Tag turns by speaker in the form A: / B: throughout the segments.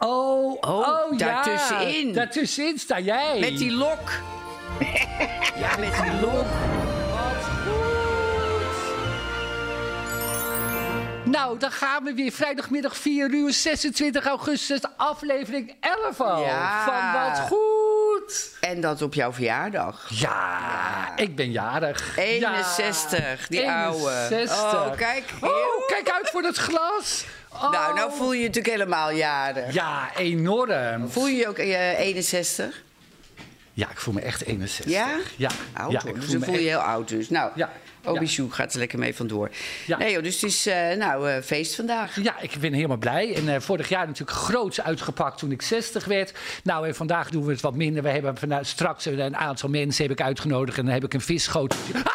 A: Oh, oh,
B: daartussenin.
A: Ja. Daartussenin sta jij.
B: Met die lok. ja, met die lok.
A: Wat goed. Nou, dan gaan we weer vrijdagmiddag 4 uur 26 augustus, aflevering 11 al.
B: Ja.
A: Van wat goed.
B: En dat op jouw verjaardag.
A: Ja, ik ben jarig.
B: 61, die ouwe.
A: 61.
B: Oh, kijk, heel-
A: Oh, kijk uit voor dat glas. Oh.
B: Nou, nou voel je je natuurlijk helemaal jarig.
A: Ja, enorm.
B: Voel je je ook eh, 61?
A: Ja, ik voel me echt 61.
B: Ja?
A: Ja,
B: Oud
A: ja
B: hoor.
A: ik
B: dus dan
A: me
B: voel je je
A: echt-
B: heel oud dus. Nou,
A: Ja,
B: Obi
A: ja.
B: Sjoe gaat er lekker mee vandoor.
A: Ja.
B: Nee joh, dus het is eh, nou, eh, feest vandaag.
A: Ja, ik ben helemaal blij. En eh, vorig jaar natuurlijk groots uitgepakt toen ik 60 werd. Nou, en vandaag doen we het wat minder. We hebben vandaag, straks een- een aantal mensen heb ik uitgenodigd. En dan heb ik een visschoot. Ah!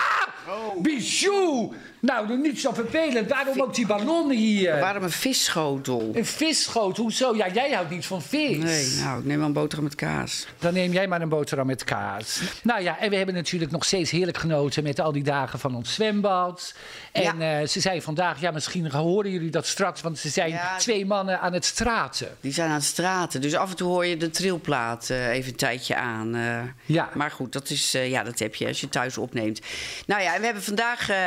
B: Oh.
A: Bijou! Nou, dat is niet zo vervelend. Daarom ook die ballonnen hier.
B: Waarom een visschotel?
A: Een visschoot, hoezo? Ja, jij houdt niet van vis.
B: Nee, nou, ik neem wel een boterham met kaas.
A: Dan neem jij maar een boterham met kaas. Nou ja, en we hebben natuurlijk nog steeds heerlijk genoten met al die dagen van ons zwembad. En eh, ze zei vandaag, ja, misschien horen jullie dat straks, want ze zijn
B: Ja.
A: twee mannen aan het straten.
B: Die zijn aan het straten, dus af en toe hoor je de trilplaat eh, even een tijdje aan. eh.
A: Ja.
B: Maar goed, dat, is, eh, ja, dat heb je als je thuis opneemt. Nou ja, en we hebben vandaag eh,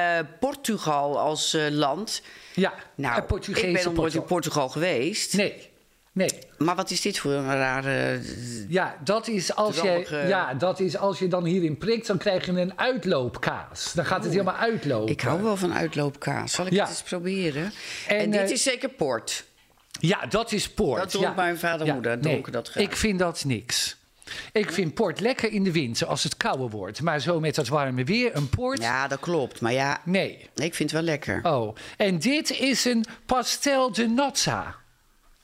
B: Portugal als eh, land.
A: Ja,
B: Nou,
A: een Portugese
B: ik ben nog nooit in
A: Porto.
B: Portugal geweest.
A: Nee, nee.
B: Maar wat is dit voor een rare... eh,
A: Ja dat, is als je,
B: Drommige-
A: ja, dat is als je dan hierin prikt, dan krijg je een uitloopkaas. Dan gaat het helemaal uitlopen.
B: Ik hou wel van uitloopkaas. Zal ik
A: Ja.
B: het eens proberen? En,
A: En,
B: dit
A: eh,
B: is zeker port.
A: Ja, dat is port.
B: Dat dronk
A: ja.
B: mijn vader en moeder, dronken dat graag.
A: Ik vind dat niks. Ik vind port lekker in de winter als het kouder wordt. Maar zo met dat warme weer, een port?
B: Ja, dat klopt. Maar ja,
A: Nee.
B: ik vind het wel lekker.
A: Oh, en dit is een pastel de nozza.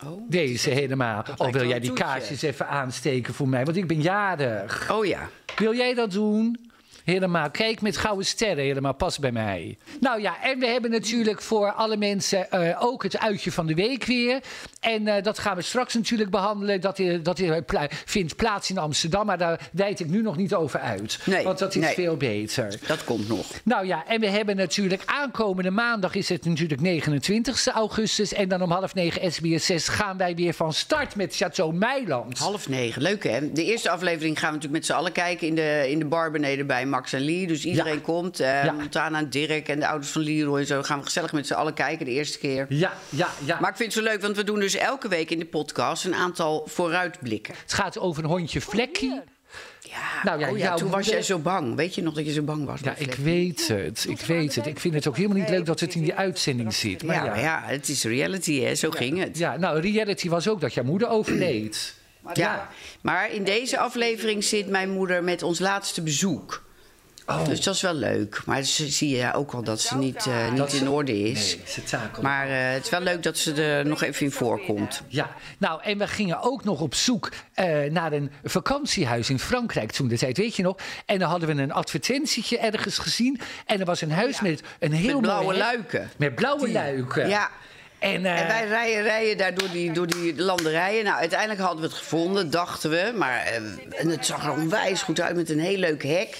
B: Oh,
A: Deze helemaal. Oh,
B: wel
A: wil jij
B: een
A: die
B: toetje.
A: kaarsjes even aansteken voor mij? Want ik ben jarig.
B: Oh ja.
A: Wil jij dat doen? Helemaal. Kijk met gouden sterren, helemaal. Pas bij mij. Nou ja, en we hebben natuurlijk voor alle mensen eh, ook het uitje van de week weer. En eh, dat gaan we straks natuurlijk behandelen. Dat, eh, dat eh, pla- vindt plaats in Amsterdam, maar daar wijd ik nu nog niet over uit.
B: Nee,
A: want dat is
B: nee.
A: veel beter.
B: Dat komt nog.
A: Nou ja, en we hebben natuurlijk aankomende maandag is het natuurlijk 29 augustus. En dan om half negen SBS 6 gaan wij weer van start met Chateau Meiland.
B: Half negen, leuk hè? De eerste aflevering gaan we natuurlijk met z'n allen kijken in de, in de bar beneden bij Max en Lee. Dus iedereen
A: Ja.
B: komt. eh
A: Ja.
B: Montana en Dirk en de ouders van Leroy en zo. Gaan we gezellig met z'n allen kijken de eerste keer.
A: Ja, ja, ja.
B: Maar ik vind het zo leuk, want we doen dus elke week in de podcast een aantal vooruitblikken.
A: Het gaat over een hondje Vlekkie.
B: Oh, Ja,
A: Nou ja,
B: oh, ja
A: jouw
B: toen was
A: moeder-
B: jij zo bang. Weet je nog dat je zo bang was?
A: Ja,
B: bij
A: ik
B: Fleck?
A: weet het. Ik weet het. Ik vind het ook helemaal niet leuk dat het in die uitzending zit. Maar
B: ja, maar
A: ja.
B: ja, het is reality hè, zo ging het.
A: ja, nou, reality was ook dat jouw moeder overleed.
B: Ja, maar in deze aflevering zit mijn moeder met ons laatste bezoek.
A: Oh.
B: Dus dat is wel leuk. Maar ze zie je ook al dat ze niet, eh, niet
A: Dat
B: in
A: ze-
B: orde is.
A: Nee, ze takelde.
B: Maar eh, het is wel leuk dat ze er nog even in voorkomt.
A: Ja, nou, en we gingen ook nog op zoek eh, naar een vakantiehuis in Frankrijk toen de tijd, weet je nog? En dan hadden we een advertentietje ergens gezien. En er was een huis met een heel
B: Met blauwe
A: mooi hek-
B: luiken.
A: Met blauwe luiken.
B: Ja.
A: En, eh,
B: En wij rijden, rijden daar door die, door die landerijen. Nou, uiteindelijk hadden we het gevonden, dachten we. Maar eh, en het zag er onwijs goed uit met een heel leuk hek.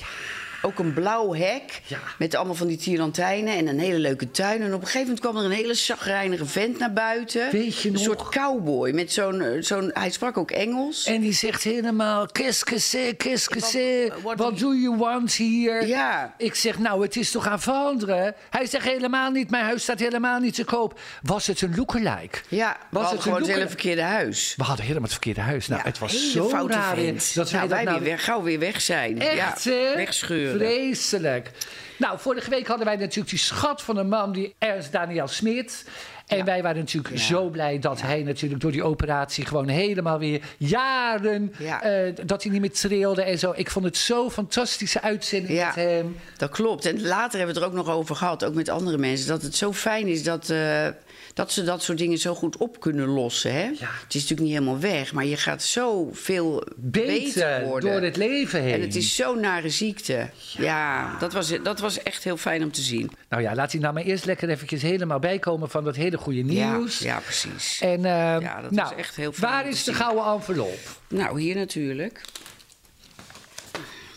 B: Ook een blauw hek
A: Ja.
B: met allemaal van die tirantijnen en een hele leuke tuin. En op een gegeven moment kwam er een hele chagrijnige vent naar buiten.
A: Weet je
B: een
A: nog?
B: soort cowboy met zo'n, eh, zo'n... Hij sprak ook Engels.
A: en die zegt helemaal, eh, qu'est-ce que c'est, qu'est-ce que c'est,
B: what
A: what do you want here?
B: Ja.
A: Ik zeg, nou, het is toch aan veranderen? Hij zegt helemaal niet, mijn huis staat helemaal niet te koop. Was het een lookalike?
B: Ja, we
A: was
B: hadden
A: het een
B: gewoon het hele
A: lookalike?
B: verkeerde huis.
A: We hadden helemaal het verkeerde huis. Nou,
B: Ja,
A: het was
B: hele
A: zo
B: foute
A: raar
B: vent.
A: dat wij
B: nou,
A: dat
B: wij
A: nou
B: weer weg, gauw weer weg zijn.
A: Echt,
B: ja,
A: hè?
B: wegschuren.
A: Vreselijk. Nou, vorige week hadden wij natuurlijk die schat van een man, die Ernst Daniel Smit. En wij waren natuurlijk zo blij dat hij natuurlijk door die operatie gewoon helemaal weer jaren,
B: Ja.
A: eh, dat hij niet meer trilde en zo. Ik vond het zo'n fantastische uitzending
B: Ja.
A: met hem.
B: Dat klopt. En later hebben we het er ook nog over gehad, ook met andere mensen, dat het zo fijn is dat, eh, dat ze dat soort dingen zo goed op kunnen lossen. Hè? Het is natuurlijk niet helemaal weg, maar je gaat zo veel beter,
A: Beter,
B: worden.
A: door het leven heen.
B: En het is zo'n nare ziekte. Ja, dat, was, dat was echt heel fijn om te zien.
A: Nou ja, laat hij nou maar eerst lekker eventjes helemaal bijkomen van dat hele goede nieuws.
B: Ja, ja, precies.
A: En eh,
B: dat was
A: nou,
B: echt heel fijn
A: waar
B: om te
A: is de
B: zien.
A: gouden envelop?
B: Nou, hier natuurlijk.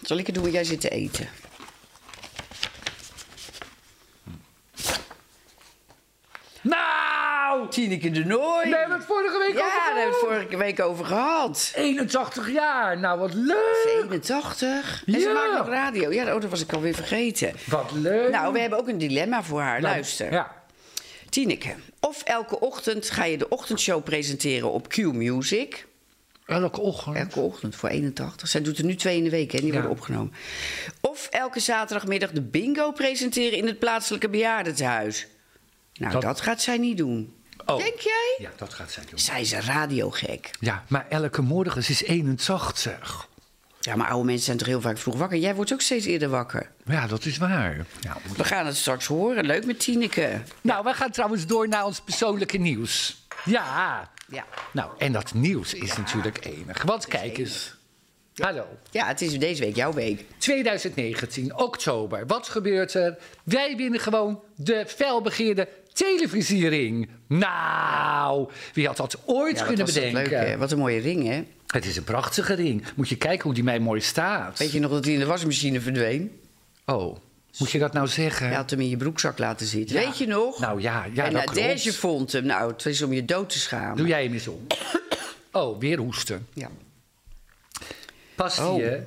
B: Zal ik het doen? want Jij zit te eten.
A: Nou,
B: Tineke de Nooi.
A: Daar hebben we het vorige week
B: ja,
A: over
B: daar hebben we het
A: gehad.
B: vorige week over gehad.
A: 81 jaar. Nou, wat leuk.
B: 81. En ze
A: Ja.
B: maakt nog radio. Ja, oh, dat was ik alweer vergeten.
A: Wat leuk.
B: Nou, we hebben ook een dilemma voor haar.
A: Nou,
B: Luister.
A: Ja.
B: Tineke, of elke ochtend ga je de ochtendshow presenteren op Q Music.
A: Elke ochtend.
B: Elke ochtend voor 81. Zij doet er nu twee in de week en die
A: Ja.
B: worden opgenomen. Of elke zaterdagmiddag de bingo presenteren in het plaatselijke bejaardentehuis. Nou,
A: Dat-
B: dat, gaat zij niet doen.
A: Oh.
B: Denk jij?
A: Ja, dat gaat zij doen.
B: Zij is een radiogek.
A: Ja, maar elke morgen ze is 81.
B: Ja, maar oude mensen zijn toch heel vaak vroeg wakker. Jij wordt ook steeds eerder wakker.
A: Ja, dat is waar. Ja.
B: We gaan het straks horen. Leuk met Tineke.
A: Nou, wij gaan trouwens door naar ons persoonlijke nieuws. Ja.
B: Ja.
A: Nou, en dat nieuws is natuurlijk enig. Want kijk eens. Hallo.
B: Ja, het is deze week jouw week.
A: 2019, oktober. Wat gebeurt er? Wij winnen gewoon de felbegeerde televisiering. Nou, wie had dat ooit
B: Ja, wat
A: kunnen
B: was dat
A: bedenken?
B: Leuk, hè? Wat een mooie ring, hè?
A: het is een prachtige ring. Moet je kijken hoe die mij mooi staat.
B: Weet je nog dat hij in de wasmachine verdween?
A: Oh, moet je dat nou zeggen?
B: Je had hem in je broekzak laten zitten.
A: Ja.
B: Weet je nog?
A: Nou ja, ja
B: en
A: dat
B: Nadege
A: klopt.
B: vond hem. Nou, het is om je dood te schamen.
A: Doe jij hem eens om. Oh, weer hoesten.
B: Ja.
A: Past
B: Oh.
A: hij, hè?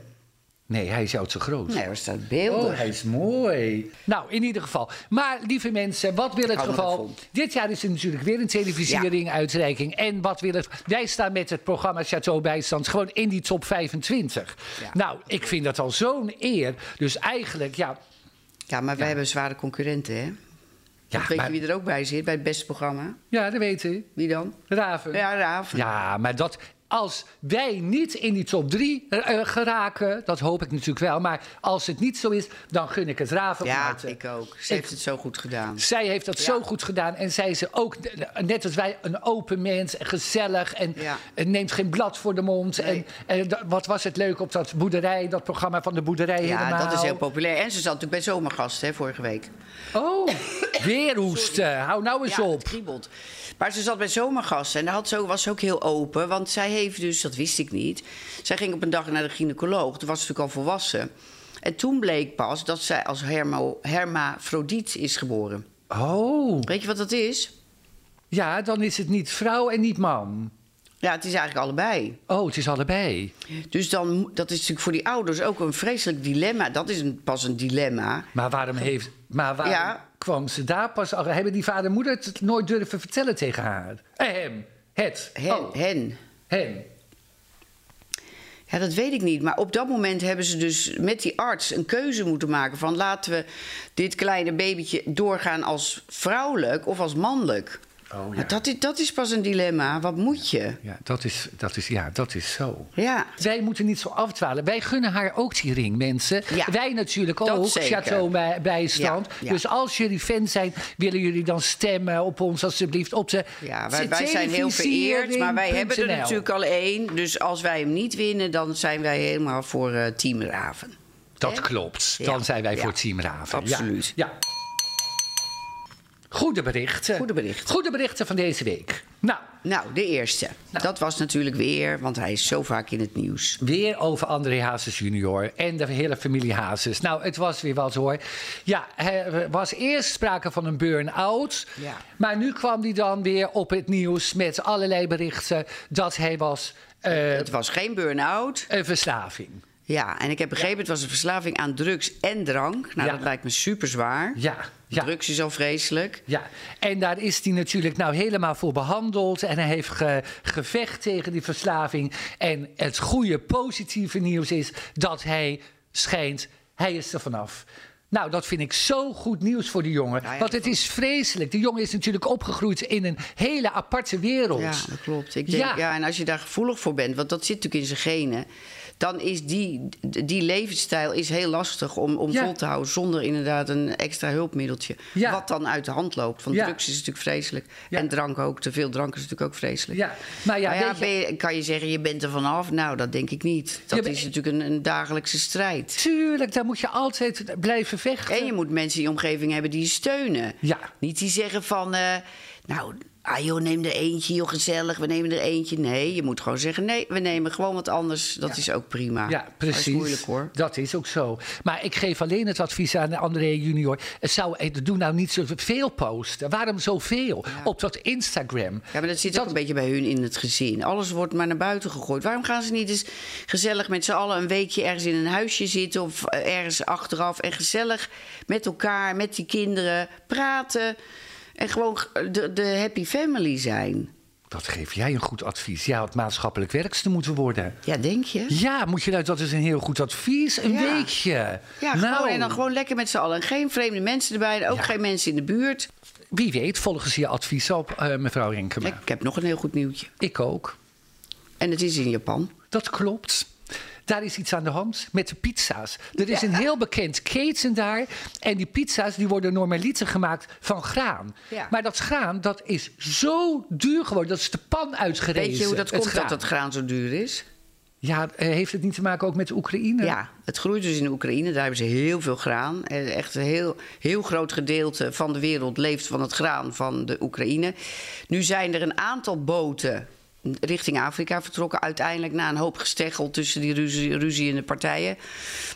A: Nee, hij is jou te groot.
B: Nee, er staat beelden.
A: Oh, hij is mooi. Nou, in ieder geval. Maar lieve mensen, wat wil het
B: hou me
A: geval?
B: ervan.
A: Dit jaar is er natuurlijk weer een televisiering, uitreiking. En wat wil het? Wij staan met het programma Chateau Bijstand gewoon in die top 25.
B: Ja.
A: Nou, ik vind dat al zo'n eer. Dus eigenlijk, ja.
B: Ja, maar wij hebben zware concurrenten, hè?
A: Ja,
B: weet
A: maar-
B: je wie er ook bij zit, bij het beste programma?
A: ja dat weet ik.
B: Wie dan?
A: Raven.
B: Ja, Raaf.
A: Ja, maar dat. Als wij niet in die top 3 geraken, dat hoop ik natuurlijk wel. Maar als het niet zo is, dan gun ik het Raven. eh, van
B: Ja,
A: harte.
B: ik ook. Ze heeft het zo goed gedaan.
A: Zij heeft dat zo goed gedaan. En zij is ook, net als wij, een open mens. En gezellig. En,
B: Ja.
A: en neemt geen blad voor de mond.
B: Nee.
A: En, en da- wat was het leuk op dat boerderij, dat programma van de boerderij
B: Ja,
A: helemaal.
B: dat is heel populair. En ze zat natuurlijk bij Zomergast, hè, vorige week.
A: Oh, weer hoesten. Hou nou eens
B: ja,
A: op.
B: het kriebelt. Maar ze zat bij Zomergast en daar had ze, was ze ook heel open. Want zij heeft dus, dat wist ik niet... Zij ging op een dag naar de gynaecoloog. Toen was ze natuurlijk al volwassen. En toen bleek pas dat zij als hermo, hermafrodiet is geboren.
A: Oh,
B: Weet je wat dat is?
A: ja, dan is het niet vrouw en niet man.
B: Ja, het is eigenlijk allebei.
A: Oh, het is allebei.
B: Dus dan, mo- dat is natuurlijk voor die ouders ook een vreselijk dilemma. Dat is een, pas een dilemma.
A: Maar waarom, heeft, maar waarom
B: Ja.
A: kwam ze daar pas... al- Hebben die vader en moeder het nooit durven vertellen tegen haar? Eh, hem. Het.
B: Hen,
A: Oh,
B: hen.
A: hem.
B: Ja, dat weet ik niet. Maar op dat moment hebben ze dus met die arts een keuze moeten maken... van laten we dit kleine babytje doorgaan als vrouwelijk of als mannelijk.
A: Oh, ja.
B: Maar dat is, dat is pas een dilemma. Wat moet je?
A: Ja, dat is, dat is, ja, dat is zo.
B: Ja.
A: Wij moeten niet zo afdwalen. Wij gunnen haar ook die ring, mensen.
B: Ja,
A: Wij natuurlijk
B: dat
A: ook,
B: zeker.
A: Chateau bij- Bijstand.
B: Ja, ja.
A: Dus als jullie fan zijn, willen jullie dan stemmen op ons alsjeblieft. Op de
B: Ja, wij, wij zijn heel vereerd, maar wij hebben er natuurlijk al één. Dus als wij hem niet winnen, dan zijn wij helemaal voor eh, Team Raven.
A: Dat
B: Hè?
A: klopt.
B: Ja.
A: Dan zijn wij
B: Ja.
A: voor Team Raven. Ja.
B: Absoluut.
A: Ja. Goede berichten.
B: Goede berichten.
A: Goede berichten van deze week. Nou,
B: Nou, de eerste.
A: Nou.
B: Dat was natuurlijk weer, want hij is zo vaak in het nieuws.
A: Weer over André Hazes junior en de hele familie Hazes. Nou, het was weer wat hoor. Ja, er was eerst sprake van een burn-out.
B: Ja.
A: Maar nu kwam hij dan weer op het nieuws met allerlei berichten... dat hij was eh,
B: Het was geen burn-out.
A: een verslaving.
B: Ja, en ik heb begrepen, het was een verslaving aan drugs en drank. Nou,
A: Ja.
B: dat lijkt me super zwaar.
A: Ja, ja.
B: Drugs is al vreselijk.
A: Ja, en daar is hij natuurlijk nou helemaal voor behandeld. En hij heeft ge- gevecht tegen die verslaving. En het goede, positieve nieuws is dat hij schijnt, hij is er vanaf. Nou, dat vind ik zo goed nieuws voor die jongen.
B: Ja, ja,
A: want
B: dat
A: het is vreselijk. Die jongen is natuurlijk opgegroeid in een hele aparte wereld.
B: Ja, dat klopt. Ik denk,
A: Ja.
B: ja. en als je daar gevoelig voor bent, want dat zit natuurlijk in zijn genen... dan is die, die levensstijl is heel lastig om, om
A: Ja.
B: vol te houden... zonder inderdaad een extra hulpmiddeltje.
A: Ja.
B: Wat dan uit de hand loopt. Want
A: Ja.
B: drugs is natuurlijk vreselijk.
A: Ja.
B: En drank ook. Te veel drank is natuurlijk ook vreselijk.
A: Ja, maar ja,
B: Maar Nou ja,
A: weet je-
B: ben je- kan je zeggen, je bent er vanaf? Nou, dat denk ik niet. Dat
A: Ja, maar-
B: is natuurlijk een, een dagelijkse strijd.
A: tuurlijk, daar moet je altijd blijven vechten.
B: En je moet mensen in je omgeving hebben die je steunen.
A: Ja.
B: Niet die zeggen van, eh, nou, ah joh, neem er eentje, joh, gezellig, we nemen er eentje. Nee, je moet gewoon zeggen, nee, we nemen gewoon wat anders. Dat is ook prima.
A: Ja,
B: Ah, Dat
A: precies.
B: is moeilijk hoor.
A: Dat is ook zo. Maar ik geef alleen het advies aan André junior. Het zou, eh, doe nou niet zoveel posten. Waarom zoveel? Op dat Instagram.
B: Ja, maar dat zit ook een beetje bij hun in het gezin. Alles wordt maar naar buiten gegooid. Waarom gaan ze niet eens gezellig met z'n allen een weekje ergens in een huisje zitten of eh, ergens achteraf en gezellig met elkaar, met die kinderen praten en gewoon g- de, de happy family zijn?
A: Dat geef jij een goed advies. Ja, het maatschappelijk werkster moeten worden.
B: Ja, denk je?
A: Ja, moet je nou, dat is een heel goed advies. Een
B: Ja.
A: weekje.
B: Ja,
A: nou,
B: gewoon, en dan gewoon lekker met z'n allen. En geen vreemde mensen erbij, en ook
A: Ja.
B: geen mensen in de buurt.
A: Wie weet, volgens je advies op, eh, mevrouw Renkema.
B: Ik, ik heb nog een heel goed nieuwtje.
A: Ik ook.
B: En het is in Japan.
A: Dat klopt. Daar is iets aan de hand met de pizza's. Er is een heel bekend keten daar. En die pizza's die worden normaliter gemaakt van graan.
B: Ja.
A: Maar dat graan dat is zo duur geworden. Dat is de pan uitgerezen.
B: Weet je hoe dat
A: het
B: komt
A: graan.
B: dat dat graan zo duur is?
A: Ja, eh, heeft het niet te maken ook met Oekraïne?
B: Ja, het groeit dus in Oekraïne. Daar hebben ze heel veel graan. Eh, Echt een heel, heel groot gedeelte van de wereld leeft van het graan van de Oekraïne. Nu zijn er een aantal boten richting Afrika vertrokken. Uiteindelijk na een hoop gesteggel tussen die ruzie, ruzie in de partijen.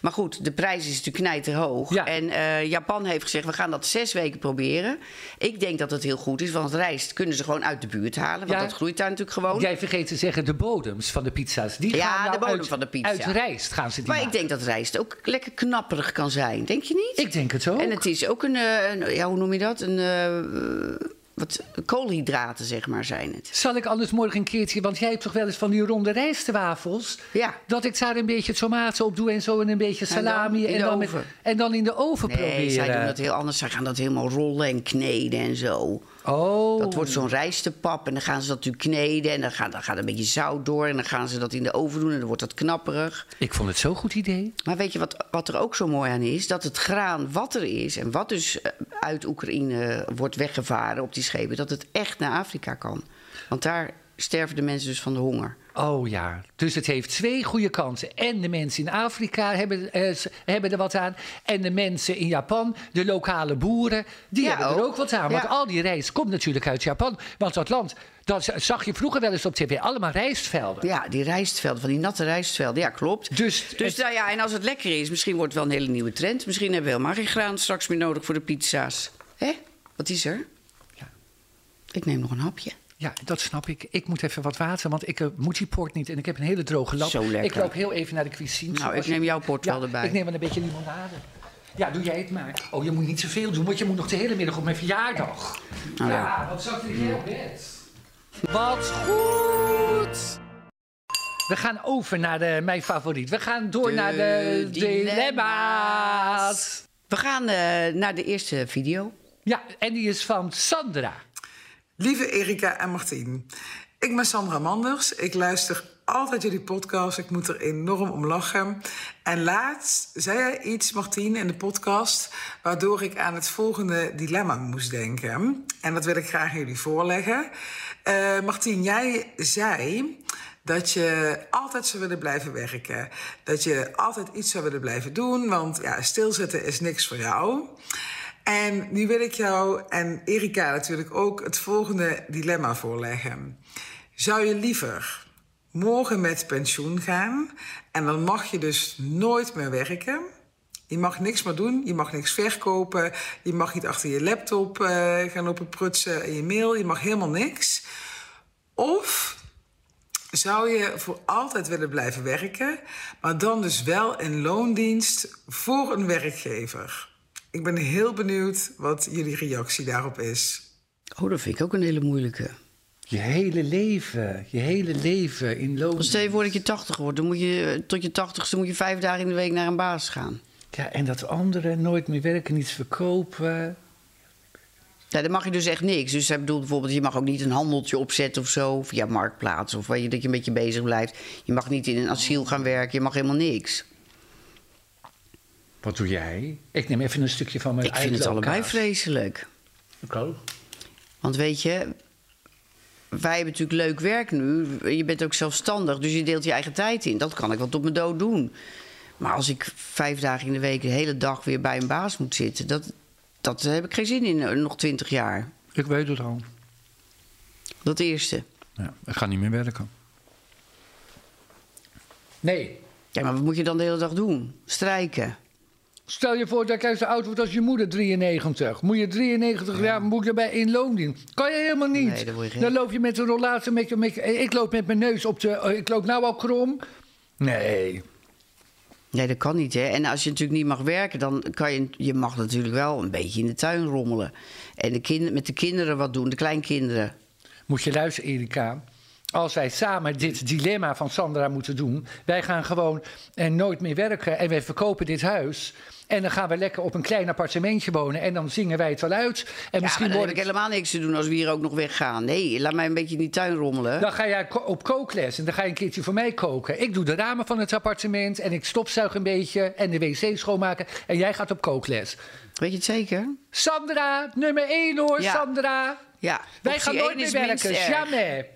B: Maar goed, de prijs is natuurlijk knijterhoog.
A: Ja.
B: En eh, Japan heeft gezegd, we gaan dat zes weken proberen. Ik denk dat dat heel goed is, want rijst kunnen ze gewoon uit de buurt halen. Want
A: Ja.
B: dat groeit daar natuurlijk gewoon.
A: Jij vergeet te zeggen de bodems van de pizza's. Die
B: Ja,
A: gaan nou
B: de bodem
A: uit,
B: van de pizza.
A: Uit rijst gaan ze die
B: Maar ik
A: maken.
B: denk dat rijst ook lekker knapperig kan zijn. Denk je niet?
A: Ik denk het ook.
B: En het is ook een, eh, een- ja, hoe noem je dat? Een, eh, wat koolhydraten, zeg maar, zijn het.
A: Zal ik anders morgen een keertje, want jij hebt toch wel eens van die ronde rijstwafels?
B: Ja.
A: Dat ik daar een beetje tomaten op doe en zo en een beetje
B: En dan
A: salami.
B: in de
A: met-
B: oven.
A: en dan in de oven
B: Nee,
A: proberen.
B: zij doen dat heel anders. Zij gaan dat helemaal rollen en kneden en zo.
A: Oh.
B: Dat wordt zo'n rijstepap en dan gaan ze dat natuurlijk kneden... en dan gaat, dan gaat een beetje zout door en dan gaan ze dat in de oven doen... en dan wordt dat knapperig.
A: Ik vond het zo'n goed idee.
B: Maar weet je wat, wat er ook zo mooi aan is? Dat het graan wat er is en wat dus eh, uit Oekraïne wordt weggevaren op die schepen... dat het echt naar Afrika kan. Want daar sterven de mensen dus van de honger.
A: Oh ja. Dus het heeft twee goede kansen. En de mensen in Afrika hebben, eh, ze- hebben er wat aan. En de mensen in Japan, de lokale boeren, die
B: Ja,
A: hebben er
B: ook.
A: ook wat aan. Want
B: Ja.
A: al die rijst komt natuurlijk uit Japan. Want dat land, dat zag je vroeger wel eens op tv, allemaal rijstvelden.
B: Ja, die rijstvelden, van die natte rijstvelden. Ja, klopt.
A: Dus-
B: dus nou ja, en als het lekker is, misschien wordt het wel een hele nieuwe trend. Misschien hebben we helemaal geen graan straks meer nodig voor de pizza's. Hé, wat is er?
A: Ja.
B: Ik neem nog een hapje.
A: Ja, dat snap ik. Ik moet even wat water, want ik eh, moet die port niet. En ik heb een hele droge lap.
B: Zo lekker.
A: Ik loop heel even naar de cuisine.
B: Nou,
A: Als
B: ik neem jouw port
A: Ja,
B: wel erbij.
A: Ik neem wel een beetje limonade. Ja, doe jij het maar. Oh, je moet niet zoveel doen, want je moet nog de hele middag op mijn verjaardag.
B: Nou
A: ja,
B: ja.
A: wat zat er hier op bed? Wat goed! We gaan over naar de, mijn favoriet. We gaan door
B: De
A: naar de dilemma's.
B: dilemma's. We gaan eh, naar de eerste video.
A: Ja, en die is van Sandra.
C: Lieve Erika en Martien, ik ben Sandra Manders. Ik luister altijd jullie podcast. Ik moet er enorm om lachen. En laatst zei jij iets, Martien, in de podcast, waardoor ik aan het volgende dilemma moest denken. En dat wil ik graag aan jullie voorleggen. Eh Martien, jij zei dat je altijd zou willen blijven werken. Dat je altijd iets zou willen blijven doen, want ja, stilzitten is niks voor jou. En nu wil ik jou en Erika natuurlijk ook het volgende dilemma voorleggen. Zou je liever morgen met pensioen gaan en dan mag je dus nooit meer werken? Je mag niks meer doen, je mag niks verkopen, je mag niet achter je laptop eh, gaan lopen prutsen en je mail, je mag helemaal niks. Of zou je voor altijd willen blijven werken, maar dan dus wel in loondienst voor een werkgever? Ik ben heel benieuwd wat jullie reactie daarop is.
B: Oh, dat vind ik ook een hele moeilijke.
A: Je hele leven, je hele leven in loon.
B: Want stel je voor dat je 80 wordt, dan moet je eh, tot je 80ste moet je vijf dagen in de week naar een baas gaan.
A: Ja, en dat anderen nooit meer werken, niets verkopen.
B: Ja, dan mag je dus echt niks. Dus hij bedoelt bijvoorbeeld, je mag ook niet een handeltje opzetten of zo. Via marktplaats of waar je, dat je een beetje bezig blijft. Je mag niet in een asiel gaan werken. Je mag helemaal niks.
A: Wat doe jij? Ik neem even een stukje van mijn
B: Ik vind het allebei vreselijk.
A: vreselijk.
B: Want weet je, wij hebben natuurlijk leuk werk nu. Je bent ook zelfstandig, dus je deelt je eigen tijd in. Dat kan ik wel tot mijn dood doen. Maar als ik vijf dagen in de week de hele dag weer bij een baas moet zitten... dat, dat heb ik geen zin in, eh, nog twintig jaar.
A: Ik weet het al.
B: Dat eerste.
D: Ja, dat gaat niet meer werken.
A: Nee.
B: Ja, maar wat moet je dan de hele dag doen? Strijken.
A: Stel je voor dat jij zo oud wordt als je moeder 93. Moet je 93 jaar moet je bij in loon doen. Kan je helemaal niet.
B: Nee, dat word je geen-
A: dan loop je met een rollator. Met, je- met, je- ik loop met mijn neus op de. eh, Ik loop nou al krom. Nee.
B: Nee, dat kan niet, hè. En als je natuurlijk niet mag werken, dan kan je... Je mag natuurlijk wel een beetje in de tuin rommelen. En de kind, met de kinderen wat doen, de kleinkinderen.
A: Moet je luisteren, Erika. Als wij samen dit dilemma van Sandra moeten doen. Wij gaan gewoon en nooit meer werken. En wij verkopen dit huis. En dan gaan we lekker op een klein appartementje wonen. En dan zingen wij het wel uit. En
B: ja, maar
A: misschien
B: dan
A: word
B: heb ik helemaal niks te doen als we hier ook nog weggaan. Nee, laat mij een beetje in die tuin rommelen.
A: Dan ga jij ko- op kookles en dan ga je een keertje voor mij koken. Ik doe de ramen van het appartement en ik stopzuig een beetje en de wc schoonmaken. En jij gaat op kookles.
B: Weet je het zeker?
A: Sandra, nummer 1 hoor,
B: Ja.
A: Sandra.
B: Ja.
A: Wij
B: optie
A: gaan
B: één
A: nooit meer
B: is minst
A: werken,
B: erg.
A: jammer.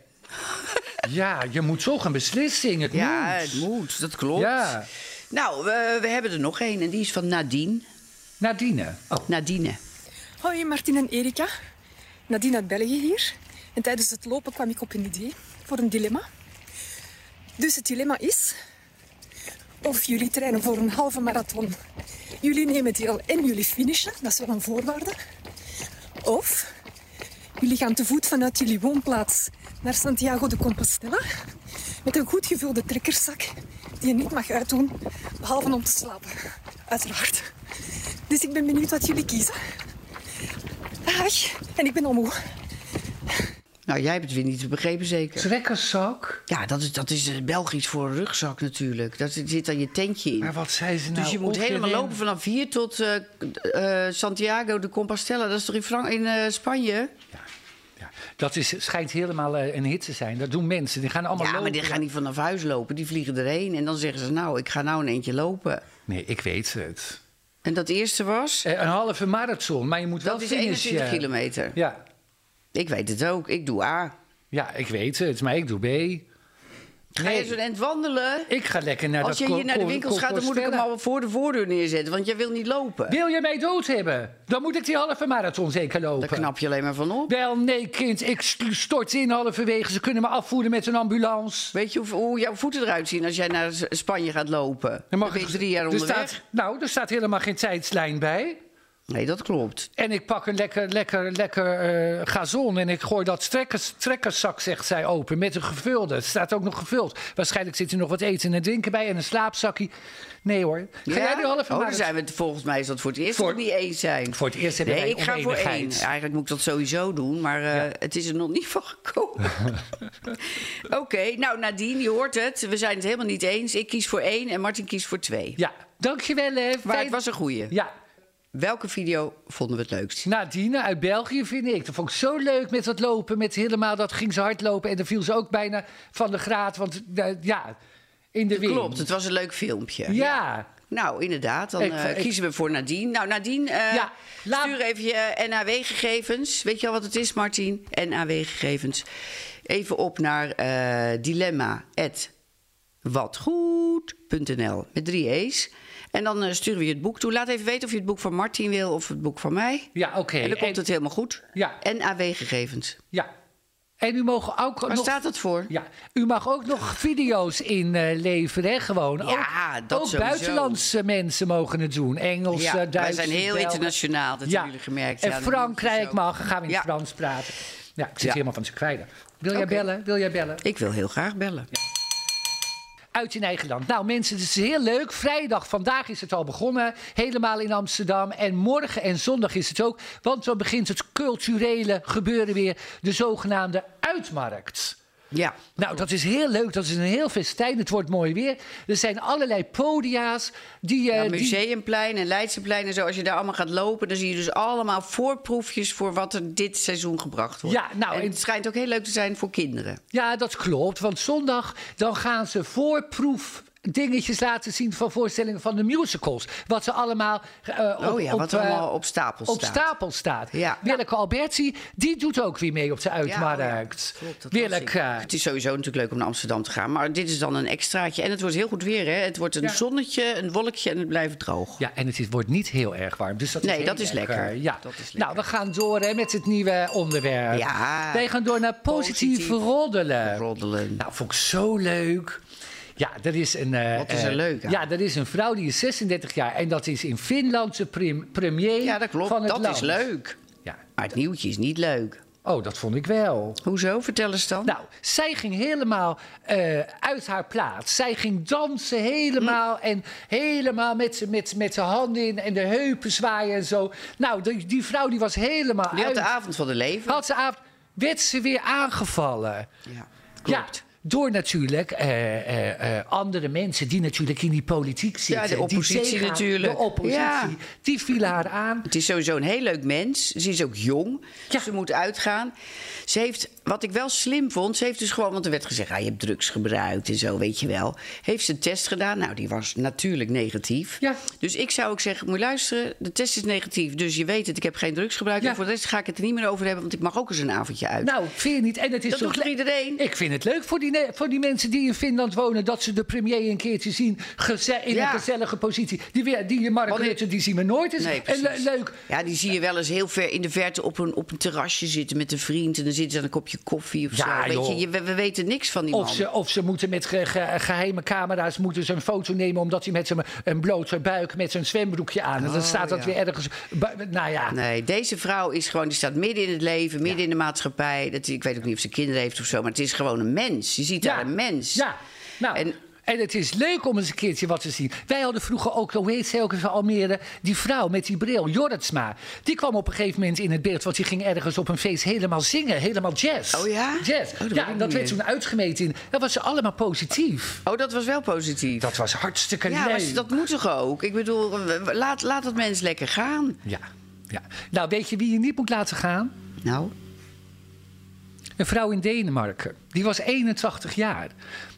A: ja, je moet toch een beslissing, het
B: Ja,
A: moet.
B: het moet, dat klopt.
A: Ja.
B: Nou, we, we hebben er nog één en die is van Nadine.
A: Nadine. Oh.
B: Nadine.
E: Hoi Martin en Erika. Nadine uit België hier. En tijdens het lopen kwam ik op een idee voor een dilemma. Dus het dilemma is of jullie trainen voor een halve marathon. Jullie nemen deel en jullie finishen, dat is wel een voorwaarde. Of jullie gaan te voet vanuit jullie woonplaats naar Santiago de Compostela met een goed gevulde trekkerzak die je niet mag uitdoen, behalve om te slapen. Uiteraard. Dus ik ben benieuwd wat jullie kiezen. Dag. En ik ben Omoe.
B: Nou, jij hebt het weer niet begrepen, zeker?
A: Trekkerszak?
B: Ja, dat is, dat is eh, Belgisch voor een rugzak natuurlijk. Dat zit dan je tentje in.
A: Maar wat zei ze nou?
B: dus je moet
A: op
B: helemaal
A: erin?
B: lopen vanaf hier tot eh, eh, Santiago de Compostela. Dat is toch in, Fran in eh, Spanje?
A: Ja, dat is, schijnt helemaal eh, een hit te zijn. Dat doen mensen, die gaan allemaal
B: ja, maar
A: lopen.
B: die gaan niet vanaf huis lopen. Die vliegen erheen en dan zeggen ze... nou, ik ga nou een eentje lopen.
A: Nee, ik weet het.
B: En dat eerste was...
A: Eh, Een halve marathon, maar je moet wel
B: dat is
A: finishen.
B: 21 kilometer.
A: Ja,
B: Ik weet het ook. Ik doe A.
A: ja, ik weet het, maar ik doe B.
B: Ga
A: Nee.
B: je zo'n end wandelen?
A: Ik ga lekker naar
B: Als
A: dat
B: je hier
A: co-
B: naar de
A: co-
B: winkels gaat, dan moet ik hem
A: Compostela.
B: al voor de voordeur neerzetten. Want jij wil niet lopen.
A: Wil je mij dood hebben? Dan moet ik die halve marathon zeker lopen.
B: Daar knap je alleen maar van op.
A: Wel, nee, kind. Ik st- stort in halverwege. Ze kunnen me afvoeren met een ambulance.
B: Weet je hoe, hoe jouw voeten eruit zien als jij naar S- Spanje gaat lopen? Dan, ben je
A: ik-
B: drie jaar
A: er
B: onderweg.
A: staat, Nou, er staat helemaal geen tijdslijn bij.
B: Nee, dat klopt.
A: En ik pak een lekker, lekker, lekker eh, gazon en ik gooi dat trekkers, trekkerszak, zegt zij, open. Met een gevulde. Het staat ook nog gevuld. Waarschijnlijk zit er nog wat eten en drinken bij en een slaapzakje. Nee hoor. Ga jij die halve
B: oh, dan
A: marathon-
B: zijn we het, volgens mij is dat voor het eerst
A: Voor-
B: dat we niet eens zijn.
A: Voor het eerst hebben
B: nee,
A: wij
B: ik ga voor één.
A: oneenigheid.
B: Eigenlijk moet ik dat sowieso doen, maar eh, het is er nog niet van gekomen. Oké, nou Nadine, je hoort het. We zijn het helemaal niet eens. Ik kies voor één en Martin kiest voor twee.
A: Ja, dankjewel hè.
B: Maar
A: Fijn-
B: het was een goeie.
A: Ja,
B: Welke video vonden we het leukst?
A: Nadine uit België vind ik. Dat vond ik zo leuk met dat lopen. Met helemaal dat ging ze hardlopen. En dan viel ze ook bijna van de graad. Want eh, ja, in de wind.
B: Klopt, het was een leuk filmpje.
A: Ja.
B: Nou, inderdaad. Dan
A: Ik-
B: eh,
A: ik-
B: kiezen we voor Nadine. Nou, Nadine, eh,
A: Ja, laat-
B: stuur even je NAW-gegevens. Weet je al wat het is, Martin? NAW-gegevens. Even op naar eh dilemma.watgoed.nl met drie E's. En dan eh, sturen we je het boek toe. Laat even weten of je het boek van Martin wil of het boek van mij.
A: Ja, oké.
B: en dan komt het helemaal goed.
A: Ja.
B: NAW-gegevens.
A: Ja. En u mag ook
B: Waar
A: nog...
B: staat dat voor?
A: Ja, u mag ook nog video's inleveren, hè, gewoon.
B: Ja,
A: ook
B: dat
A: ook
B: sowieso.
A: buitenlandse mensen mogen het doen. Engels,
B: Ja,
A: eh,
B: wij
A: Duits.
B: zijn heel
A: Belgen.
B: internationaal, dat hebben jullie gemerkt.
A: En
B: Ja, dat
A: Frankrijk
B: moet je zo.
A: mag, gaan we in het
B: Ja.
A: Frans praten. Ja, ik zit
B: Ja.
A: helemaal van te kwijlen. Wil jij
B: Oké.
A: bellen? Wil jij bellen?
B: Ik wil heel graag bellen.
A: uit in eigen land. Nou mensen, het is heel leuk. Vrijdag, vandaag is het al begonnen. Helemaal in Amsterdam. En morgen en zondag is het ook. Want dan begint het culturele gebeuren weer. De zogenaamde uitmarkt.
B: Ja.
A: Nou, dat is heel leuk. Dat is een heel festijn. Het wordt mooi weer. Er zijn allerlei podia's die... eh, die-
B: Ja, Museumplein en Leidseplein en zo. Als je daar allemaal gaat lopen, dan zie je dus allemaal voorproefjes voor wat er dit seizoen gebracht wordt.
A: Ja, nou,
B: en
A: en-
B: het schijnt ook heel leuk te zijn voor kinderen.
A: Ja, dat klopt. Want zondag dan gaan ze voorproef dingetjes laten zien van voorstellingen van de musicals. Wat ze allemaal eh, op,
B: Oh ja,
A: op,
B: wat
A: eh,
B: allemaal op stapel
A: op
B: staat.
A: stapel staat.
B: Ja. oh
A: Willeke Alberti, die doet ook weer mee op de uitmarkt.
B: Ja, klopt, dat was
A: Willeke.
B: ik. Het is sowieso natuurlijk leuk om naar Amsterdam te gaan. Maar dit is dan een extraatje. En het wordt heel goed weer, hè? Het wordt een
A: Ja.
B: zonnetje, een wolkje en het blijft droog.
A: Ja, en het is- wordt niet heel erg warm. Dus dat
B: Nee,
A: is heel
B: dat is lekker.
A: Ja.
B: Dat is lekker.
A: Nou, we gaan door hè, met het nieuwe onderwerp.
B: Ja.
A: Wij gaan door naar positief,
B: Positief
A: roddelen.
B: Roddelen.
A: Nou, vond ik zo leuk. Ja, er is een. eh,
B: Wat is er
A: eh,
B: leuk aan?
A: Ja, er is een vrouw die is 36 jaar en dat is in Finland de prim- premier
B: Ja, dat klopt.
A: van het
B: Dat
A: land.
B: is leuk.
A: Ja.
B: Maar het nieuwtje is niet leuk.
A: Oh, dat vond ik wel.
B: Hoezo? Vertel eens dan.
A: Nou, zij ging helemaal eh, uit haar plaats. Zij ging dansen helemaal
B: Hm.
A: en helemaal met z'n met, met z'n handen in en de heupen zwaaien en zo. Nou, die, die vrouw die was helemaal
B: Die had
A: Nou, uit.
B: de avond van de leven.
A: Had ze avond, werd ze weer aangevallen.
B: Ja,
A: Ja, door natuurlijk eh, eh, eh, andere mensen die natuurlijk in die politiek zitten.
B: de
A: die
B: oppositie
A: tegen haar-
B: natuurlijk.
A: De oppositie,
B: Ja.
A: die viel haar aan.
B: Het is sowieso een heel leuk mens. Ze is ook jong.
A: Ja.
B: Ze moet uitgaan. Ze heeft, wat ik wel slim vond, ze heeft dus gewoon, want er werd gezegd, ah, je hebt drugs gebruikt en zo, weet je wel. Heeft ze een test gedaan? Nou, die was natuurlijk negatief.
A: Ja.
B: Dus ik zou ook zeggen, moet je luisteren, de test is negatief. Dus je weet het, ik heb geen drugs gebruikt.
A: Ja.
B: En voor de rest ga ik het er niet meer over hebben, want ik mag ook eens een avondje uit.
A: Nou, vind je niet? En het is
B: dat
A: toch
B: doet
A: le-
B: toch iedereen?
A: Ik vind het leuk voor die, ne- voor die mensen die in Finland wonen... dat ze de premier een keertje zien geze- in
B: Ja.
A: een gezellige positie. Die, weer- die Mark
B: Want-
A: Rutte, die zien we nooit eens.
B: Nee,
A: en
B: precies.
A: le- leuk.
B: Ja, die zie je wel eens heel ver in de verte op een, op een terrasje zitten met een vriend. En dan zitten ze aan een kopje koffie of
A: Ja,
B: zo. Weet
A: joh.
B: je, je, we, we weten niks van die
A: Of
B: man.
A: ze, of ze moeten met ge- ge- geheime camera's moeten ze een foto nemen... omdat hij met zijn een blote buik met zijn zwembroekje aan... en dan staat dat
B: Oh, ja.
A: weer ergens... bu- Nou ja,
B: Nee, deze vrouw is gewoon, die staat midden in het leven, midden in de maatschappij. Dat, ik weet ook niet of ze kinderen heeft of zo, maar het is gewoon een mens. Je ziet daar een mens.
A: Ja, nou... En,
B: En-
A: het is leuk om eens een keertje wat te zien. Wij hadden vroeger ook, hoe heet zij ook eens van Almere... die vrouw met die bril, Jorritsma. Die kwam op een gegeven moment in het beeld... want die ging ergens op een feest helemaal zingen. Helemaal jazz.
B: Oh ja?
A: Jazz.
B: Oh, dat weet
A: ja,
B: ik
A: en dat
B: niet
A: werd
B: meer.
A: toen uitgemeten. in- Dat was ze allemaal positief.
B: Oh, dat was wel positief.
A: Dat was hartstikke
B: ja,
A: leuk.
B: maar dat moet toch ook? Ik bedoel, w- w- laat, laat dat mens lekker gaan.
A: Ja, ja. Nou, weet je wie je niet moet laten gaan?
B: Nou,
A: Een vrouw in Denemarken. Die was 81 jaar.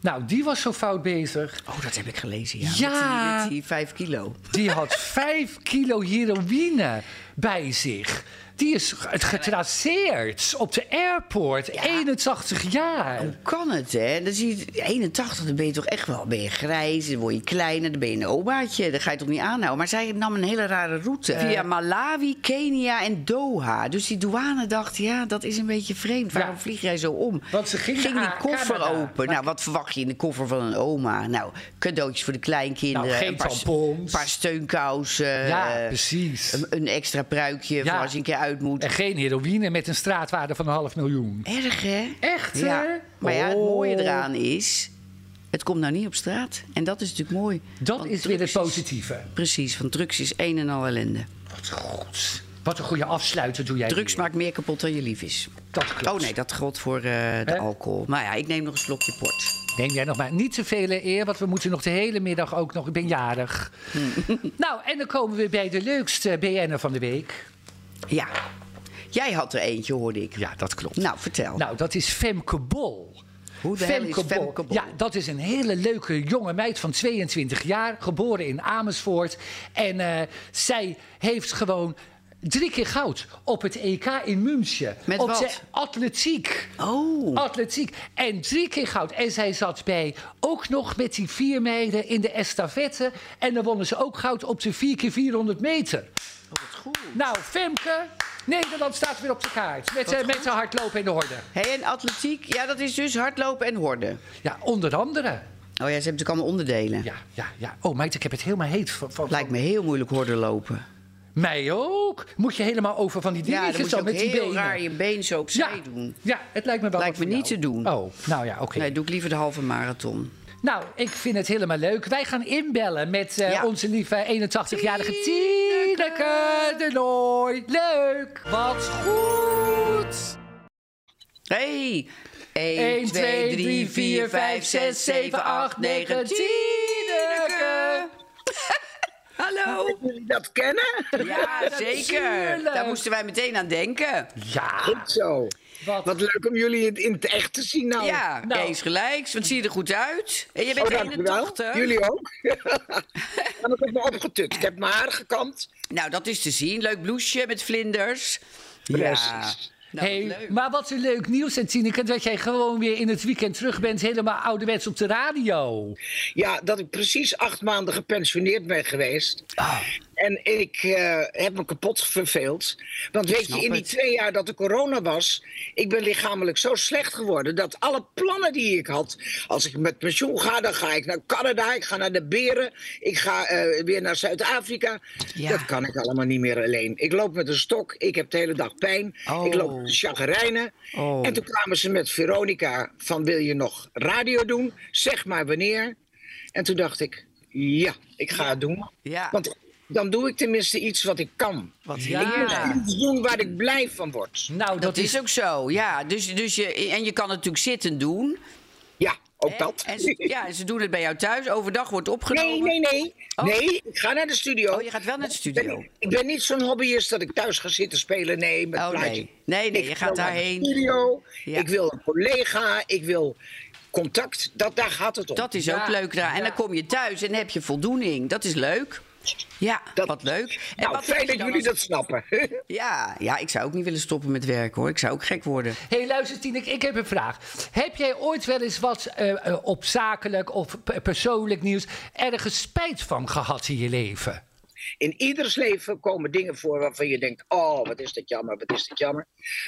A: Nou, die was zo fout bezig.
B: oh, dat heb ik gelezen, ja.
A: Ja.
B: Met, die, met die vijf kilo.
A: Die had 5 kilo heroïne bij zich. Die is ge- getraceerd op de airport. 81 jaar.
B: Hoe kan het, hè? Dan zie je, 81, dan ben je toch echt wel, ben je grijs, dan word je kleiner, dan ben je een omaatje. Dan ga je toch niet aanhouden. Maar zij nam een hele rare route.
A: Eh.
B: Via Malawi, Kenia en Doha. Dus die douane dacht, ja, dat is een beetje vreemd. Waarom
A: Ja.
B: vlieg jij zo om?
A: Want ze ging
B: die
A: naar
B: koffer
A: Canada.
B: open. Nou, wat verwacht je in de koffer van een oma? Nou, cadeautjes voor de kleinkinderen.
A: Nou, geen
B: een paar,
A: tampons.
B: een paar steunkousen.
A: Ja,
B: eh,
A: precies.
B: Een, een extra pruikje
A: Ja.
B: voor als je een keer uit moet.
A: En geen heroïne met een straatwaarde van een half miljoen.
B: Erg, hè?
A: Echt, hè?
B: Ja. Maar ja, het
A: Oh.
B: mooie eraan is... het komt nou niet op straat. En dat is natuurlijk mooi.
A: Dat
B: Want
A: is weer het
B: Oh, drugs is-
A: positieve.
B: Precies, want drugs is een en al ellende.
A: Wat goed. Wat een goede afsluiter doe jij.
B: Drugs
A: weer.
B: maakt meer kapot dan je lief is.
A: Dat klopt.
B: Oh nee, dat geldt voor eh, de
A: Hè?
B: alcohol. Maar ja, ik neem nog een slokje port.
A: Neem jij nog maar niet te veel eer, want we moeten nog de hele middag ook nog. Ik ben jarig.
B: Hmm.
A: nou, en dan komen we bij de leukste BN'er van de week.
B: Ja. Jij had er eentje, hoorde ik.
A: Ja, dat klopt.
B: Nou, vertel.
A: Nou, dat is Femke Bol.
B: Hoe de hel is Femke Bol?
A: Ja, dat is een hele leuke jonge meid van 22 jaar, geboren in Amersfoort. En eh, zij heeft gewoon drie keer goud op het EK in München.
B: Met
A: op
B: wat?
A: de atletiek.
B: Oh.
A: Atletiek. En drie keer goud. En zij zat bij ook nog met die vier meiden in de estafette. En dan wonnen ze ook goud op de 4 keer 400 meter.
B: Oh, goed.
A: Nou, Femke, Nederland staat weer op de kaart. Met, eh, met de hardlopen in de horde.
B: Hey, en atletiek, ja, dat is dus hardlopen en horden.
A: Ja, onder andere.
B: Oh ja, ze hebben natuurlijk allemaal onderdelen.
A: Ja, ja, ja. Oh, meid, ik heb het helemaal heet van, van,
B: Lijkt
A: van-
B: me heel moeilijk horden lopen.
A: mij ook. Moet je helemaal over van die
B: Ja,
A: dingetjes
B: dan moet je
A: zo
B: ook
A: met die
B: heel
A: benen.
B: raar je been zo opzij
A: ja,
B: doen.
A: ja, het lijkt me wel
B: Lijkt
A: wat
B: me
A: voor
B: niet
A: jou.
B: te doen.
A: Oh, nou ja, oké.
B: Nee, doe ik liever de halve marathon.
A: Nou, ik vind het helemaal leuk. Wij gaan inbellen met eh,
B: Ja.
A: onze lieve 81-jarige Tineke de Nooi. Leuk! Wat goed!
B: Hey! 1, 2, 3, 4, 5, 6, 7, 8, 9, 10.
A: Tineke!
B: Hallo.
D: Jullie dat kennen?
B: Ja, zeker.
A: natuurlijk.
B: Daar moesten wij meteen aan denken. Nou,
A: Ja,
D: Goed zo.
A: wat,
D: Wat leuk om jullie het in het echt te zien nou.
B: ja,
A: nou.
B: eens gelijks. Wat zie je er goed uit? En je bent
D: Oh, dank u wel.
B: 81.
D: Jullie ook. en ik heb me opgetut. Ik heb mijn haar gekamd.
B: Nou, dat is te zien. Leuk blouseje met vlinders.
D: Precies.
B: Nou, wat
A: Hey,
B: leuk.
A: maar wat een leuk nieuws, en Tineke, dat jij gewoon weer in het weekend terug bent, helemaal ouderwets op de radio.
D: Ja, dat ik precies acht maanden gepensioneerd ben geweest.
B: Ah.
D: En ik eh, heb me kapot verveeld. Want weet je, in die
B: het.
D: twee jaar dat er corona was... ik ben lichamelijk zo slecht geworden... dat alle plannen die ik had... als ik met pensioen ga, dan ga ik naar Canada... ik ga naar de Beren, ik ga eh, weer naar Zuid-Afrika.
B: Ja.
D: Dat kan ik allemaal niet meer alleen. Ik loop met een stok, ik heb de hele dag pijn...
B: Oh.
D: ik loop met de chagrijnen.
B: Oh.
D: En toen kwamen ze met Veronica van... wil je nog radio doen? Zeg maar wanneer. En toen dacht ik, ja, ik ga het doen.
B: Ja.
D: Want dan doe ik tenminste iets wat ik kan.
B: Wat
A: Ja.
B: heerlijk.
D: Iets doen waar ik blij van word.
A: Nou, dat,
B: Dat is ook zo, ja. Dus, dus je, en je kan het natuurlijk zitten doen.
D: Ja, ook
B: hè?
D: dat.
B: En ze, ja, en ze doen het bij jou thuis. Overdag wordt opgenomen.
D: Nee, nee, nee. Nee, ik ga naar de studio.
B: Oh, je gaat wel naar de
D: Ik
B: studio.
D: ben- Ik ben niet zo'n hobbyist dat ik thuis ga zitten spelen. Nee, met
B: Oh, nee.
D: plaatje.
B: Nee, nee,
D: Ik
B: je
D: wil
B: gaat
D: naar de
B: daarheen.
D: studio.
B: Ja.
D: Ik wil een collega. Ik wil contact. Dat, daar gaat het om.
B: Dat is
A: Ja,
B: ook leuk. daar. En dan kom je thuis en heb je voldoening. Dat is leuk. Ja,
D: Dat-
B: wat leuk. En
D: Nou,
B: wat
D: fijn
B: heb je
D: dat
B: dan
D: jullie
B: als-
D: dat snappen.
B: Ja, ja, ik zou ook niet willen stoppen met werken hoor. Ik zou ook gek worden.
A: Hé, hey, luister Tineke, ik heb een vraag. Heb jij ooit wel eens wat eh, eh, op zakelijk of pe- persoonlijk nieuws ergens spijt van gehad in je leven?
D: In ieders leven komen dingen voor waarvan je denkt: oh, wat is dat jammer, wat is dat jammer.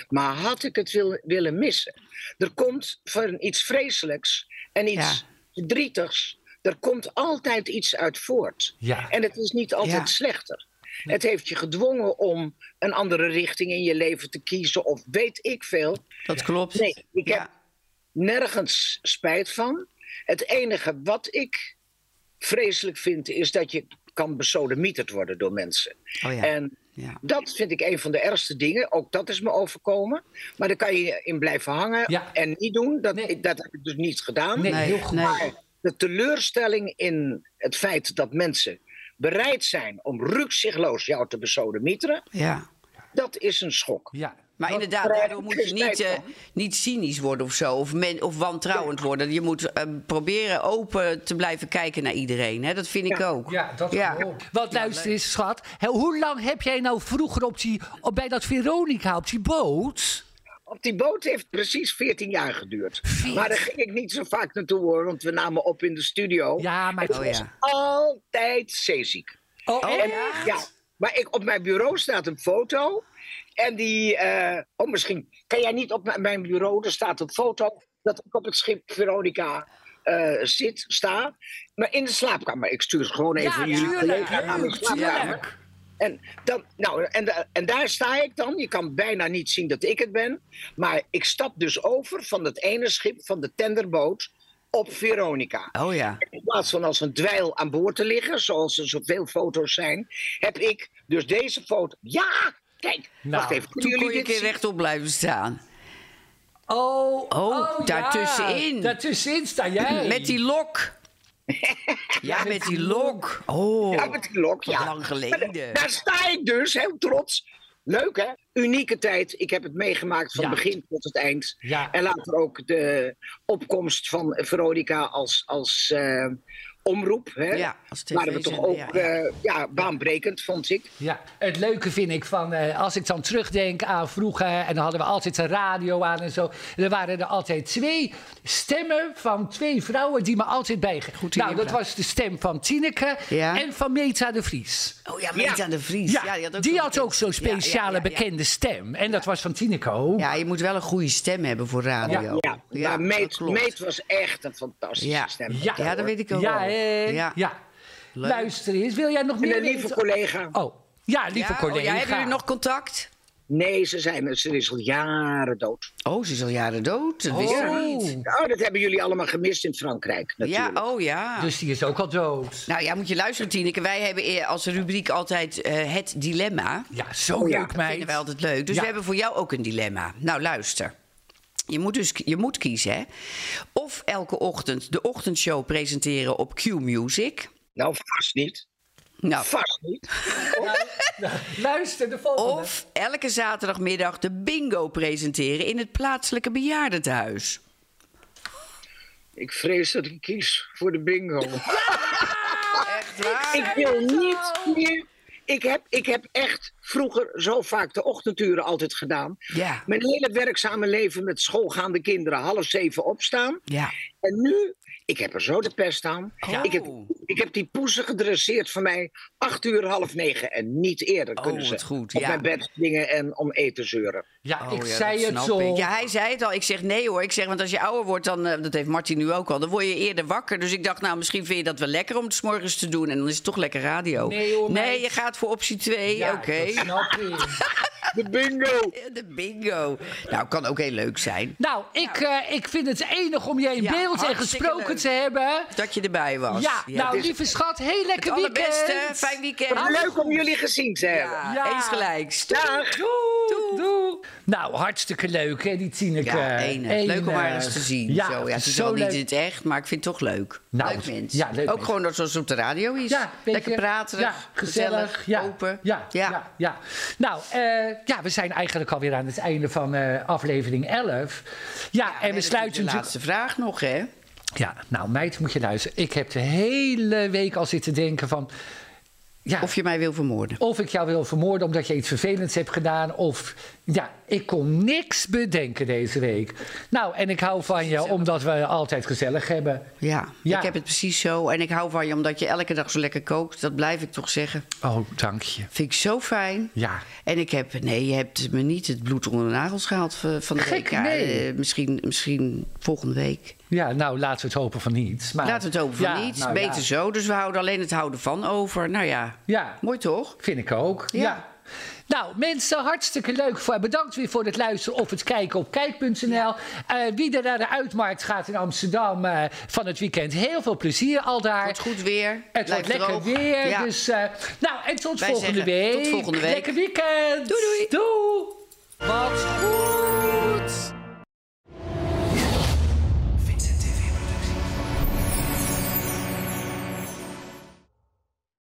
D: Maar had ik het wil- willen missen? Er komt van iets vreselijks en iets verdrietigs, er komt altijd iets uit voort.
A: Ja.
D: En het is niet altijd
B: Ja.
D: slechter. Het heeft je gedwongen om een andere richting in je leven te kiezen, of weet ik veel.
B: Dat klopt.
D: Nee, ik heb
B: Ja.
D: nergens spijt van. Het enige wat ik vreselijk vind, is dat je kan besodemieterd worden door mensen.
B: Oh ja.
D: En
B: Ja.
D: dat vind ik een van de ergste dingen. Ook dat is me overkomen. Maar daar kan je in blijven hangen
A: Ja.
D: en niet doen. Dat,
A: Nee.
D: ik- dat heb ik dus niet gedaan.
A: Nee,
B: Nee,
A: heel goed.
B: nee.
D: De teleurstelling in het feit dat mensen bereid zijn om rukzichtloos jou te besodemieteren,
B: Ja.
D: dat is een schok.
A: Ja.
B: Maar
D: Dat
B: inderdaad,
D: krijg
B: daardoor
D: ik
B: moet
D: geen
B: je niet,
D: spijt
B: eh,
D: van.
B: niet cynisch worden of zo. Of, men, of wantrouwend worden. Je moet eh, proberen open te blijven kijken naar iedereen. Hè? Dat vind ik ook.
A: Ja, dat
B: Ja.
A: wel. Want luister eens, schat. hè, hoe lang heb jij nou vroeger op die, op, bij dat Veronica op die boot?
D: Op die boot heeft precies 14 jaar geduurd. Maar daar ging ik niet zo vaak naartoe hoor, want we namen op in de studio.
A: Ja, maar...
B: Oh ja.
D: Altijd zeeziek.
A: Oh, echt?
B: ja?
D: Ja, maar ik, op mijn bureau staat een foto. En die. eh, oh, misschien. Kan jij niet op mijn- mijn bureau? Er staat een foto dat ik op het schip Veronica eh, zit, sta. Maar in de slaapkamer. Ik stuur het gewoon even
A: Ja,
D: aan jullie
A: tuurlijk,
D: collega naar mijn
A: tuurlijk,
D: slaapkamer. En, dan, nou, en, da- en daar sta ik dan. Je kan bijna niet zien dat ik het ben. Maar ik stap dus over van het ene schip, van de tenderboot, op Veronica.
B: Oh ja.
D: In plaats van als een dweil aan boord te liggen, zoals er zoveel foto's zijn, heb ik dus deze foto. Ja! Kijk,
A: Nou,
D: wacht even.
B: Toen
D: kunnen
B: kon je
D: jullie
B: een
D: dit
B: keer
D: zien?
B: rechtop blijven staan.
A: Oh, ja.
B: daartussenin.
A: Daartussenin sta jij.
B: Met die lok. ja, met die lok. Oh,
D: Ja, met die lok,
B: wat
D: ja.
B: lang
D: Maar
B: geleden.
D: daar- daar sta ik dus, heel trots. Leuk, hè? Unieke tijd. Ik heb het meegemaakt van
A: Ja.
D: begin tot het eind.
A: Ja.
D: En later ook de opkomst van Veronica als, als eh, omroep. Hè?
B: Ja, als
D: Waren we toch
B: tv-zender,
D: ook
B: ja,
D: ja, ja, baanbrekend, vond ik.
A: Ja, het leuke vind ik van, eh, als ik dan terugdenk aan vroeger, en dan hadden we altijd een radio aan en zo. En er waren er altijd twee stemmen van twee vrouwen die me altijd bijgingen.
B: Goed
A: Nou, dat
B: ingebracht.
A: was de stem van Tineke
B: Ja.
A: en van Meta de Vries.
B: Oh ja, Meet
D: Ja.
B: aan de Vries. Ja, die had ook, zo'n-
A: zo'n
B: Ja, ja, ja,
A: speciale
B: ja.
A: bekende stem. En dat was van Tineke ook.
B: Ja, je moet wel een goede stem hebben voor radio.
D: Ja,
B: Ja,
D: maar
B: dat
D: Meet,
B: klopt.
D: Meet was echt een fantastische
B: Ja.
D: stem.
A: Ja.
B: Ja, dat weet ik ook
A: Ja,
B: wel.
A: hè?
B: Ja.
A: ja. Luister eens, wil jij nog
D: En
A: meer
D: een lieve
A: weten?
D: collega.
A: Oh, ja,
B: Ja,
A: lieve
B: oh,
A: collega.
B: ja, hebben jullie nog contact?
D: Nee, ze, zijn, ze is al jaren dood.
B: Oh, ze is al jaren dood. Dat wist ik niet.
D: Oh, dat hebben jullie allemaal gemist in Frankrijk.
B: Ja,
D: Natuurlijk.
B: oh ja.
A: Dus die is ook al dood.
B: Nou ja, moet je luisteren, Tineke. Wij hebben eer- als rubriek altijd eh, het dilemma.
A: Ja, zo
D: Oh ja,
A: leuk,
B: Dat
A: meid.
B: vinden wij altijd leuk. Dus
A: Ja.
B: we hebben voor jou ook een dilemma. Nou, luister. Je moet dus je moet kiezen, hè? Of elke ochtend de ochtendshow presenteren op Q Music.
D: Nou, vast niet.
B: Nou,
D: Vast niet.
A: Luister, de volgende.
B: of elke zaterdagmiddag de bingo presenteren in het plaatselijke bejaardentehuis.
D: Ik vrees dat ik kies voor de bingo.
B: Echt waar?
D: Ik wil niet meer. Ik heb, ik heb echt vroeger zo vaak de ochtenduren altijd gedaan.
B: Ja.
D: Mijn hele werkzame leven met schoolgaande kinderen half zeven opstaan.
B: Ja.
D: En nu, ik heb er zo de pest aan.
B: Ja. Oh.
D: Ik, heb, ik heb die poezen gedresseerd van mij acht uur half negen. En niet eerder
B: Oh,
D: kunnen ze
B: wat goed,
D: op
B: ja.
D: mijn bed dingen en om eten zeuren.
A: Ja,
B: Oh
A: ik
B: ja,
A: zei
B: dat
A: het
B: snap
A: zo.
B: ik. Ja, hij zei het al. Ik zeg nee hoor. Ik zeg, want als je ouder wordt, dan, eh, dat heeft Martin nu ook al, dan word je eerder wakker. Dus ik dacht, nou, misschien vind je dat wel lekker om het 's morgens te doen. En dan is het toch lekker radio.
A: Nee, hoor,
B: Nee,
A: meid.
B: je gaat voor optie 2.
A: Ja,
B: Oké.
A: dat snap ik.
D: De bingo!
B: De bingo. Nou, kan ook heel leuk zijn.
A: Nou, ik, eh, ik vind het enig om je in
B: Ja,
A: beeld en
B: hartstikke
A: gesproken
B: leuk.
A: te hebben.
B: Dat je erbij was.
A: Ja, nou,
B: dus
A: lieve schat, heel lekker
B: het allerbeste.
A: weekend.
B: Fijn weekend.
D: Wat leuk om jullie gezien te hebben.
B: Ja,
A: Ja.
B: eens gelijk.
D: Dag!
A: Doei. Doei. Nou, hartstikke leuk, hè, die Tineke.
B: Ja, enig. Leuk om haar eens te zien.
A: eh, Ja,
B: zo. Ja, het is
A: zo
B: wel niet
A: leuk.
B: in het echt, maar ik vind het toch leuk.
A: Nou,
B: leuk mens.
A: ja, leuk
B: ook
A: mens.
B: gewoon dat zoals het op de radio is.
A: Ja, beetje-
B: Lekker praten,
A: ja, ja,
B: open.
A: Ja, ja. ja, Nou, eh, ja, we zijn eigenlijk alweer aan het einde van eh, aflevering 11. Ja, en we
B: dat is
A: sluiten
B: De
A: natuurlijk...
B: laatste vraag nog, hè?
A: Ja, nou meid, moet je luisteren. Ik heb de hele week al zitten denken van... Ja,
B: Of
A: of,
B: je mij wil vermoorden.
A: ik jou wil vermoorden omdat je iets vervelends hebt gedaan. Of ja, ik kon niks bedenken deze week. Nou, en ik hou van je omdat we altijd gezellig hebben.
B: Ja,
A: Ja.
B: ik heb het precies zo. En ik hou van je omdat je elke dag zo lekker kookt. Dat blijf ik toch zeggen.
A: Oh, dank je.
B: Vind ik zo fijn.
A: Ja.
B: En ik heb, nee, je hebt me niet het bloed onder de nagels gehaald v- van de
A: Gek,
B: week. Ja,
A: nee.
B: eh, misschien, misschien volgende week.
A: Ja, nou, laten we het hopen van niet. Maar,
B: Laat het over van
A: Ja,
B: niet.
A: nou ja.
B: Beter zo. Dus we houden alleen het houden van over. Nou ja,
A: Ja.
B: mooi toch?
A: Vind ik ook. Ja.
B: Ja.
A: Nou, mensen, hartstikke leuk. Voor, bedankt weer voor het luisteren of het kijken op kijk.nl. Eh, wie er naar de uitmarkt gaat in Amsterdam eh, van het weekend, heel veel plezier al daar.
B: Het wordt goed weer.
A: Het wordt
B: Blijft
A: lekker
B: droog.
A: weer.
B: Ja.
A: Dus, eh, nou, en tot
B: Wij
A: volgende
B: zeggen
A: week.
B: tot volgende week.
A: Lekker weekend.
B: Doei, doei.
A: Doei. Wat goed.